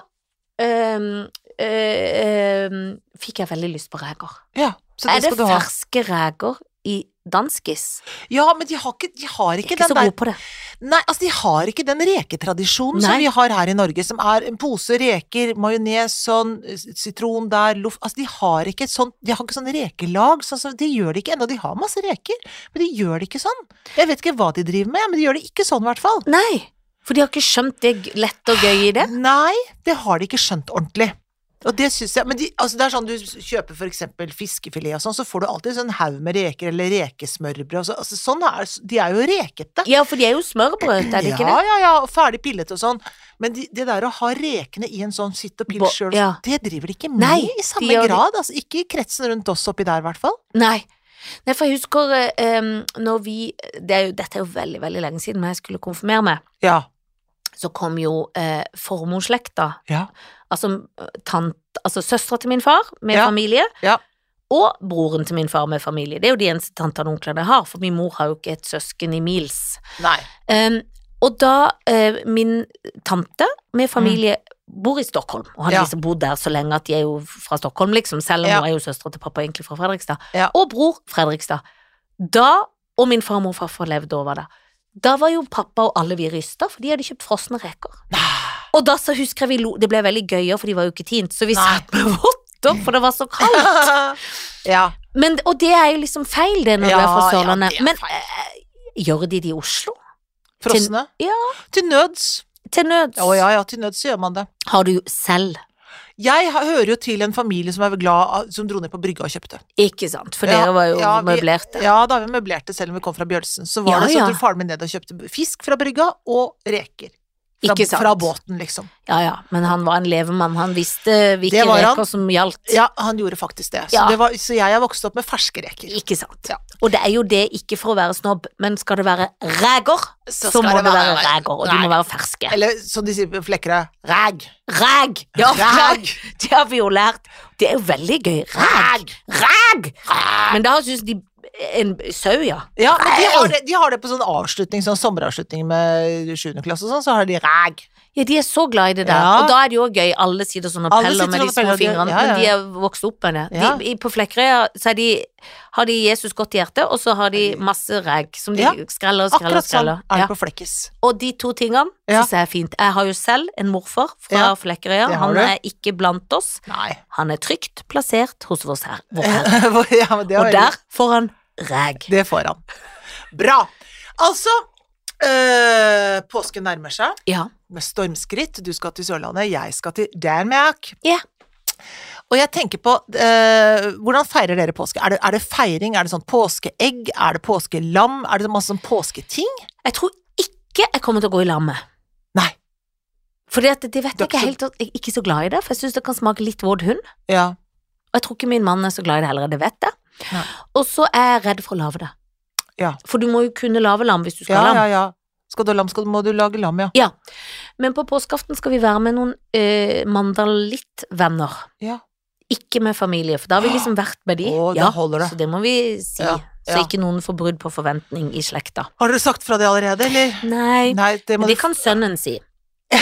S1: øhm, øh, øhm, fikk jeg veldig lyst på reker.
S2: ja. Så det
S1: Er det
S2: skal du ha.
S1: ferske reker i danskis?
S2: Ja, men de har ikke, de har ikke,
S1: Ikke, ikke så
S2: den der
S1: god på det.
S2: Nei, altså de har ikke den reketradisjonen som
S1: Nei.
S2: vi har her i Norge, som er en pose reker, majones, sånn, s- sitron der, loff Altså de har ikke et sånt, de har ikke sånn rekelag, sånn som de gjør det ikke ennå. De har masse reker, men de gjør det ikke sånn. Jeg vet ikke hva de driver med, men de gjør det ikke sånn i hvert fall.
S1: Nei, for de har ikke skjønt det g- lett og gøy i det.
S2: Nei, det har de ikke skjønt ordentlig. Og det synes jeg, men de, altså det er sånn Du kjøper for eksempel fiskefilet, og sånn, så får du alltid sånn haug med reker eller rekesmørbrød. og Så, altså sånn er, de er jo rekete.
S1: Ja, for de er jo smørbrød, er det ikke
S2: ja,
S1: det?
S2: ja, ja, og ferdig pillet og sånn. Men de, det der å ha rekene i en sånn sitt og pill
S1: Bo-
S2: sjøl,
S1: ja.
S2: det driver de ikke med
S1: Nei,
S2: i samme
S1: de gjør det-
S2: grad. Altså, ikke i kretsen rundt oss oppi der, i hvert fall.
S1: Nei. Nei, for jeg husker eh, em, når vi det er jo, Dette er jo veldig, veldig lenge siden, men jeg skulle konfirmere meg.
S2: Ja.
S1: Så kom jo eh, formorsslekta,
S2: Ja.
S1: altså, eh, tant- altså søstera til min far med
S2: Ja.
S1: familie,
S2: Ja.
S1: og broren til min far med familie. Det er jo de eneste tantene og onklene jeg har, for min mor har jo ikke et søsken i mils.
S2: Nei.
S1: Em, Ehm, og da eh, min tante med familie bor i Stockholm, og har
S2: Ja.
S1: liksom bodd der så lenge at de er jo fra Stockholm, liksom, selv om
S2: Ja.
S1: hun er jo søstera til pappa egentlig fra Fredrikstad,
S2: Ja.
S1: og bror Fredrikstad. Da, og min farmor og farfar levde over der, da var jo pappa og alle vi rysta, for de hadde kjøpt frosne reker. Og da så husker jeg vi lo, det ble veldig gøyere, for de var jo ikke tint, så vi
S2: Nei.
S1: satt med votter, for det var så kaldt.
S2: [LAUGHS] ja.
S1: Men, og det er jo liksom feil det når du er fra
S2: Ja, ja,
S1: Sørlandet.
S2: det er
S1: Men
S2: feil.
S1: eh, gjør de det i Oslo?
S2: Frosne.
S1: Ja.
S2: Til nøds.
S1: Til nøds.
S2: Å ja, ja, til nøds gjør man det.
S1: Har du selv
S2: Jeg har- hører jo til en familie som er glad av- som dro ned på brygga og kjøpte.
S1: Ikke sant, for
S2: Ja,
S1: dere var jo
S2: ja, vi-
S1: møblerte.
S2: Ja, da vi møblerte selv om vi kom fra Bjølsen, så var
S1: Ja,
S2: det sånn
S1: ja.
S2: at faren min ned og kjøpte fisk fra brygga og reker. Fra,
S1: Ikke sant.
S2: fra båten, liksom.
S1: Ja ja, men han var en levemann, han visste hvilke
S2: Det var han.
S1: reker som gjaldt.
S2: Ja, han gjorde faktisk det. Så,
S1: Ja.
S2: det var, så jeg er vokst opp med ferske reker.
S1: Ikke sant.
S2: Ja.
S1: Og det er jo det ikke for å være snobb, men skal det være reker, så,
S2: Så skal
S1: må
S2: det
S1: det være
S2: være-
S1: reker, og de
S2: Nei.
S1: må være ferske.
S2: Eller som de sier på Flekkerøy, ræg.
S1: Ræg! Ja,
S2: Ræg.
S1: det har vi jo lært. Det er jo veldig gøy. Ræg! Ræg! Men da syns de en sau, ja.
S2: Ja, men de har, det, de har det på sånn avslutning, sånn sommeravslutning med sjuende klasse og sånn, så har de ræg.
S1: Ja, de er så glad i det der.
S2: Ja.
S1: Og da er det jo gøy. Alle sitter sånn og
S2: Alle
S1: peller
S2: sitter
S1: med de
S2: sånn og peller,
S1: små
S2: og de-
S1: fingrene,
S2: ja, ja.
S1: men de er vokst opp med det. De,
S2: Ja.
S1: i- På Flekkerøya så er de, har de Jesus godt i hjertet, og så har de masse reg som de
S2: Ja.
S1: skreller og skreller.
S2: Akkurat
S1: og
S2: sånn
S1: skreller.
S2: er det
S1: Ja.
S2: på Flekkis.
S1: Og de to tingene
S2: Ja.
S1: syns jeg er fint. Jeg har jo selv en morfar fra
S2: Ja,
S1: Flekkerøya.
S2: det har
S1: Han
S2: du.
S1: er ikke blant oss.
S2: Nei. [LAUGHS]
S1: Han er trygt plassert hos vår her. Vår herre.
S2: ja, men det var
S1: Og der får han reg.
S2: Det får han. Bra. Altså, øh, påsken nærmer seg.
S1: Ja.
S2: med stormskritt. Du skal til Sørlandet, jeg skal til Danmark.
S1: Ja.
S2: Og jeg tenker på, eh, hvordan feirer dere påske? Er det, er det feiring? Er det sånn påskeegg? Er det påskelam? Er det masse sånn påsketing?
S1: Jeg tror ikke jeg kommer til å gå i lag med.
S2: Nei.
S1: Fordi at det vet
S2: Du er
S1: jeg ikke
S2: ikke så-
S1: helt, jeg er ikke så glad i det, for jeg syns det kan smake litt våt hund.
S2: Ja.
S1: Og jeg tror ikke min mann er så glad i det heller, det vet jeg.
S2: Nei.
S1: Og så er jeg redd for å lage det.
S2: Ja.
S1: For du må jo kunne lage lam hvis du skal
S2: Ja,
S1: ha lam.
S2: ja, ja. Skal du ha lam, skal, du- må du lage lam, ja.
S1: Men på påskeaften skal vi være med noen eh, mandalittvenner
S2: Ja.
S1: Ikke med familie, for da har vi liksom vært med de.
S2: Å, da
S1: ja,
S2: holder det.
S1: Så det må vi si.
S2: Ja,
S1: Så
S2: ja.
S1: ikke noen får brudd på forventning i slekta.
S2: Har dere sagt fra det allerede, eller?
S1: Nei,
S2: Nei, det må
S1: men det kan sønnen si.
S2: [LAUGHS] ja.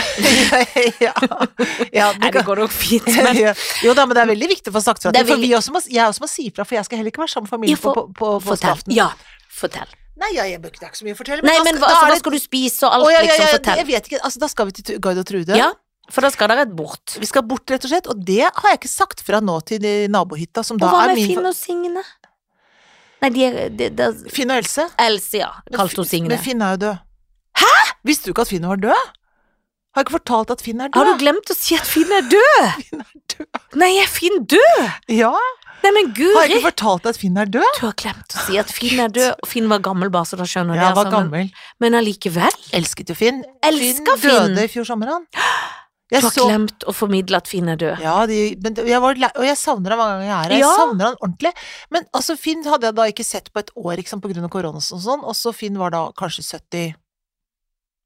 S1: [LAUGHS]
S2: ja, du
S1: Nei, det
S2: kan...
S1: går nok fint, [LAUGHS]
S2: [LAUGHS]
S1: men
S2: Ja. Jo da, men det er veldig viktig å få sagt fra.
S1: Det er
S2: til, For
S1: veldig-
S2: vi også må, jeg også må si fra, for jeg skal heller ikke være sammen med familien
S1: Ja, for-
S2: på, på, på
S1: fortell.
S2: påskeaften.
S1: Ja, fortell.
S2: Nei, ja, jeg bør ikke det er ikke så mye å fortelle.
S1: Nei,
S2: da
S1: men
S2: skal-
S1: hva,
S2: da
S1: altså,
S2: er
S1: hva
S2: det-
S1: skal du spise og alt,
S2: Å, ja, ja,
S1: liksom?
S2: ja,
S1: Fortell.
S2: Jeg vet ikke, altså da skal vi til Tu- Gard og Trude.
S1: Ja, for da skal dere et bort.
S2: Vi skal bort, rett og slett, og det har jeg ikke sagt fra nå til de nabohytta, som
S1: Og
S2: da
S1: hva
S2: er
S1: med
S2: min
S1: Finn og Signe? Nei, de er de, de,
S2: Finn og Else.
S1: Else, ja.
S2: Men
S1: Kalte hun
S2: Fi-
S1: Signe.
S2: Men Finn er jo død. Hæ?! Visste du ikke at Finn var død? Har jeg ikke fortalt at Finn er
S1: Har
S2: død?
S1: du glemt å si at Finn er død?
S2: [LAUGHS] Finn er død.
S1: Nei, er Finn død?
S2: Ja,
S1: Nei, men
S2: har jeg
S1: guri!
S2: ikke fortalt at Finn er død?
S1: Du har glemt å si at Finn er død, og Finn var gammel, bare så da skjønner
S2: Ja,
S1: det.
S2: jeg var
S1: altså, men-
S2: gammel.
S1: Men allikevel.
S2: Elsket jo Finn.
S1: Elsker Finn.
S2: døde i fjor sommer,
S1: [GASPS]
S2: han.
S1: Du
S2: Jeg
S1: har glemt å formidle at Finn er død.
S2: Ja, de, men det- jeg var, lei- og jeg savner han mange ganger jeg er her. Jeg
S1: Ja.
S2: savner han ordentlig. Men altså, Finn hadde jeg da ikke sett på et år ikke sant, på grunn av korona og sånn, og så Finn var da kanskje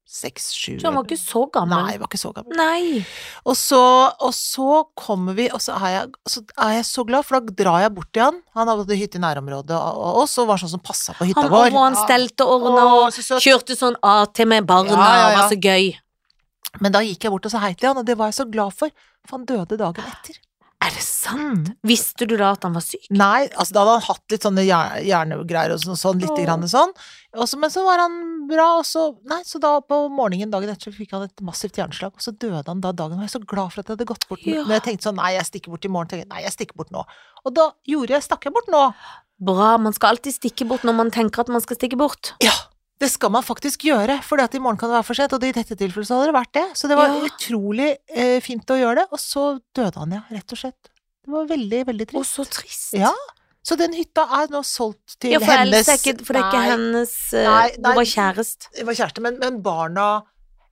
S2: 76-7
S1: Så han var ikke så
S2: Nei,
S1: gammel.
S2: var ikke så gammel.
S1: Nei.
S2: Og så, og så kommer vi, og så er, jeg, så er jeg så glad, for da drar jeg bort til han. Han hadde hytte i nærområdet, og, og, og så var han sånn som passa på hytta
S1: Han,
S2: vår.
S1: og han
S2: Ja.
S1: stelte og
S2: Å,
S1: ordna og
S2: så søt.
S1: kjørte sånn AT med barna
S2: Ja, ja,
S1: og
S2: ja.
S1: var så gøy.
S2: Men da gikk jeg bort og sa hei til han, og det var jeg så glad for, for han døde dagen etter.
S1: Er det sant? Visste du da at han var syk?
S2: Mm. Nei, altså da hadde han hatt litt sånne hjer- hjernegreier og sånn, sånn litt
S1: Åh.
S2: grann sånn. Og så- men så var han bra, og så Nei, så da på morgenen dagen etter så fikk han et massivt hjerneslag, og så døde han da dagen. Og jeg er så glad for at jeg hadde gått bort.
S1: Ja.
S2: Når jeg tenkte sånn, nei, jeg stikker bort i morgen, tenkte jeg, nei, jeg stikker bort nå. Og da gjorde jeg, stakk jeg bort nå.
S1: Bra, man skal alltid stikke bort når man tenker at man skal stikke bort.
S2: Ja, det skal man faktisk gjøre, for i morgen kan det være for sent, og i dette tilfellet så hadde det vært det. Så det var
S1: Ja.
S2: utrolig eh, fint å gjøre det, og så døde han, ja, rett og slett. Det var veldig, veldig
S1: Å,
S2: trist.
S1: så trist.
S2: Ja, så den hytta er nå solgt til
S1: Ja, for
S2: hennes
S1: Else er ikke, for det er ikke
S2: Nei,
S1: hennes eh,
S2: Nei, nei.
S1: Hun var kjærest.
S2: Det var kjæreste, men, men barna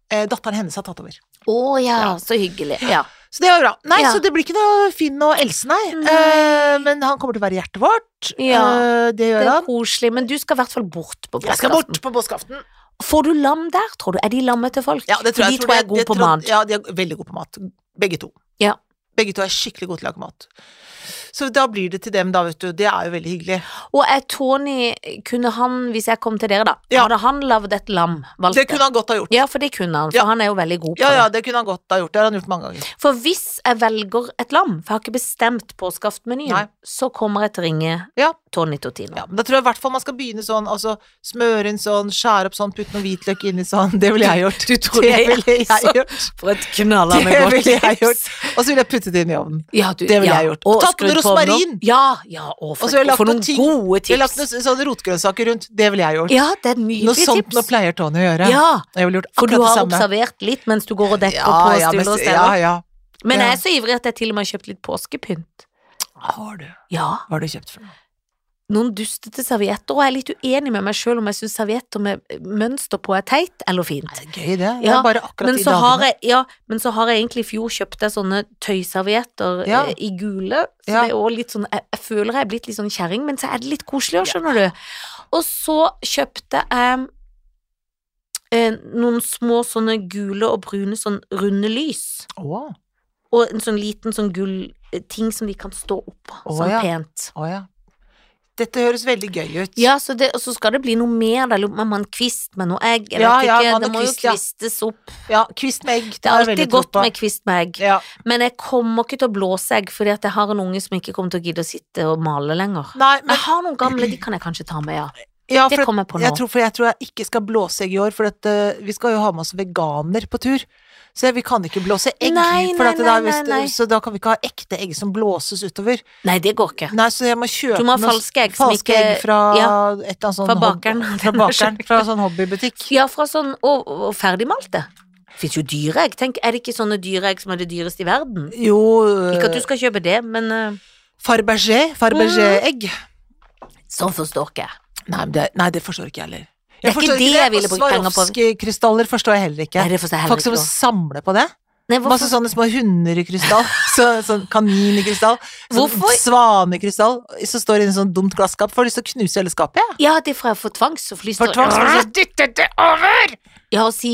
S2: eh, Datteren hennes har tatt over.
S1: Å ja,
S2: Ja.
S1: så hyggelig. Ja.
S2: Så det var bra. Nei,
S1: Ja.
S2: så det blir ikke noe Finn og Else, nei.
S1: Nei.
S2: Eh, men han kommer til å være i hjertet vårt.
S1: Ja,
S2: Eh, det
S1: Det
S2: gjør
S1: er
S2: han.
S1: koselig, men du skal i hvert fall bort på
S2: Jeg skal
S1: påskeaften.
S2: bort på påskeaften.
S1: Får du lam der, tror du? Er de lamme til folk?
S2: Ja, det tror jeg.
S1: de tror jeg er
S2: det
S1: gode på
S2: tror-
S1: mat.
S2: Ja, de er veldig gode på mat. Begge to.
S1: Ja.
S2: Begge to er skikkelig gode til å lage mat. Så da blir det til dem, da, vet du. Det er jo veldig hyggelig.
S1: Og er Tony, kunne han, hvis jeg kom til dere da,
S2: Ja.
S1: hadde han lagd et lam? Valgt
S2: Det kunne han godt ha gjort.
S1: Ja, for det kunne han, for
S2: Ja.
S1: han er jo veldig god på
S2: Ja, ja, det kunne han godt ha gjort. Det har han gjort mange ganger.
S1: det. For hvis jeg velger et lam, for jeg har ikke bestemt
S2: Nei.
S1: påskeaftenmenyen, så kommer jeg til å ringe
S2: Ja.
S1: Tony Totino.
S2: Ja, men da tror jeg i hvert fall man skal begynne sånn, altså smøre inn sånn, skjære opp sånn, putte noe hvitløk inni sånn. Det ville jeg gjort.
S1: Du tror
S2: det
S1: jeg-
S2: ville jeg
S1: altså,
S2: gjort.
S1: For et knallende
S2: Det
S1: godt
S2: ville jeg
S1: tips.
S2: gjort. Og så ville jeg puttet det inn i ovnen.
S1: Ja, du,
S2: Det ville
S1: ja.
S2: jeg gjort.
S1: Og
S2: Tatt med
S1: skrudd på
S2: rosmarin.
S1: noe- Ja, ja, og for,
S2: Og så har jeg
S1: og
S2: lagt
S1: for
S2: noen
S1: noen
S2: ting-
S1: gode
S2: Vi har lagt
S1: tips.
S2: noen sånne rotgrønnsaker rundt. Det ville jeg gjort.
S1: Ja, det er
S2: Noe
S1: nydelige
S2: sånt
S1: tips.
S2: nå pleier Tony å gjøre.
S1: ja,
S2: Jeg ville gjort
S1: for du
S2: akkurat det
S1: har
S2: samme.
S1: observert litt mens du går og dekker
S2: Ja,
S1: på
S2: ja,
S1: og
S2: men-
S1: styller og
S2: ja,
S1: steller.
S2: ja.
S1: Men
S2: ja.
S1: jeg er så ivrig at jeg til og med har kjøpt litt påskepynt.
S2: Har du?
S1: Ja.
S2: Hva har du kjøpt for noe?
S1: noen dustete servietter, og jeg er litt uenig med meg sjøl om jeg syns servietter med mønster på er teit
S2: Nei,
S1: eller fint.
S2: det er gøy, det. Det
S1: Ja,
S2: er bare akkurat
S1: Men
S2: de
S1: så,
S2: dagene.
S1: har jeg, ja, men så har jeg egentlig i fjor kjøpt deg sånne tøyservietter
S2: Ja.
S1: eh, i gule, så
S2: Ja.
S1: det er også litt sånn jeg, jeg føler jeg er blitt litt sånn kjerring, men så er det litt koselig òg, skjønner du. Og så kjøpte jeg eh, noen små sånne gule og brune sånn runde lys,
S2: Å,
S1: og en sånn liten sånn gull eh, ting som de kan stå oppå,
S2: Å,
S1: sånn
S2: ja.
S1: pent.
S2: å ja. Dette høres veldig gøy ut.
S1: Ja, så det, og så skal det bli noe mer, da. Lurer på om man kvist med noe egg, jeg
S2: Ja,
S1: vet
S2: ja,
S1: ikke.
S2: man
S1: det
S2: har
S1: må
S2: kvist,
S1: jo
S2: ja.
S1: kvistes opp.
S2: Ja, kvist med egg.
S1: Det
S2: har
S1: er
S2: jeg veldig
S1: alltid
S2: tro
S1: godt
S2: på.
S1: med kvist med egg.
S2: ja.
S1: Men jeg kommer ikke til å blåse egg, fordi at jeg har en unge som ikke kommer til å gidde å sitte og male lenger.
S2: Nei, men
S1: Jeg har noen gamle, de kan jeg kanskje ta med, ja.
S2: ja,
S1: Det
S2: for,
S1: kommer jeg på nå.
S2: jeg tror, for jeg tror jeg ikke skal blåse egg i år, for at, eh, vi skal jo ha med oss veganer på tur. Så vi kan ikke blåse egg,
S1: Nei,
S2: for
S1: nei,
S2: at det er
S1: nei,
S2: visst-
S1: nei, nei.
S2: så da kan vi ikke ha ekte egg som blåses utover.
S1: Nei, det går ikke.
S2: Nei, så jeg må kjøpe
S1: Du må ha
S2: noe-
S1: falske egg som
S2: falske
S1: ikke-
S2: egg fra
S1: ja,
S2: et eller annet sånn
S1: fra
S2: hob-
S1: bakeren.
S2: [LAUGHS] Fra bakeren, fra sånn hobbybutikk.
S1: [LAUGHS] Ja, fra sånn Og, og ferdigmalte. Fins jo dyreegg. Tenk, er det ikke sånne dyreegg som er det dyreste i verden?
S2: Jo
S1: Ikke at du skal kjøpe det, men eh,
S2: Farbergé, Farbergé-egg.
S1: sånn forstår ikke jeg.
S2: Nei, men det, nei, det forstår ikke jeg heller.
S1: Det er ikke det jeg ville brukt penger på.
S2: Swarovski-krystaller forstår jeg heller ikke.
S1: Nei, det forstår jeg
S2: Folk som
S1: heller ikke. også.
S2: samler på det.
S1: Nei,
S2: Masse
S1: hvorfor?
S2: sånne små hunder i krystall. [LAUGHS] Så, sånn kanin i krystall. Sånn
S1: Hvorfor?
S2: Svane i krystall. Som står det i en sånn dumt glasskap. Får lyst til å knuse hele [LAUGHS] skapet, jeg.
S1: Ja, det er for jeg får tvangs og
S2: For tvangs-
S1: Ja, og si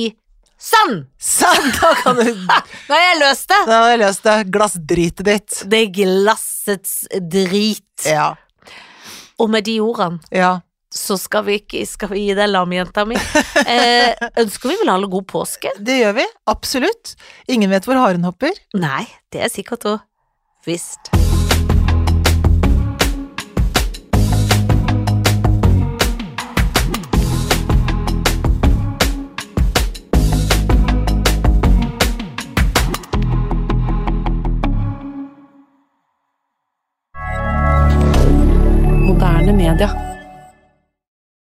S1: Sann!
S2: Sånn, da kan du
S1: Nå har jeg løst det!
S2: [LAUGHS] Da har jeg løst det glassdritet ditt.
S1: Det er glassets drit.
S2: Ja.
S1: Og med de ordene
S2: Ja.
S1: så skal vi, ikke, skal vi gi deg lam, jenta mi. Eh, ønsker vi vel alle god påske?
S2: Det gjør vi. Absolutt. Ingen vet hvor haren hopper.
S1: Nei, det er sikkert og visst.
S3: Moderne media.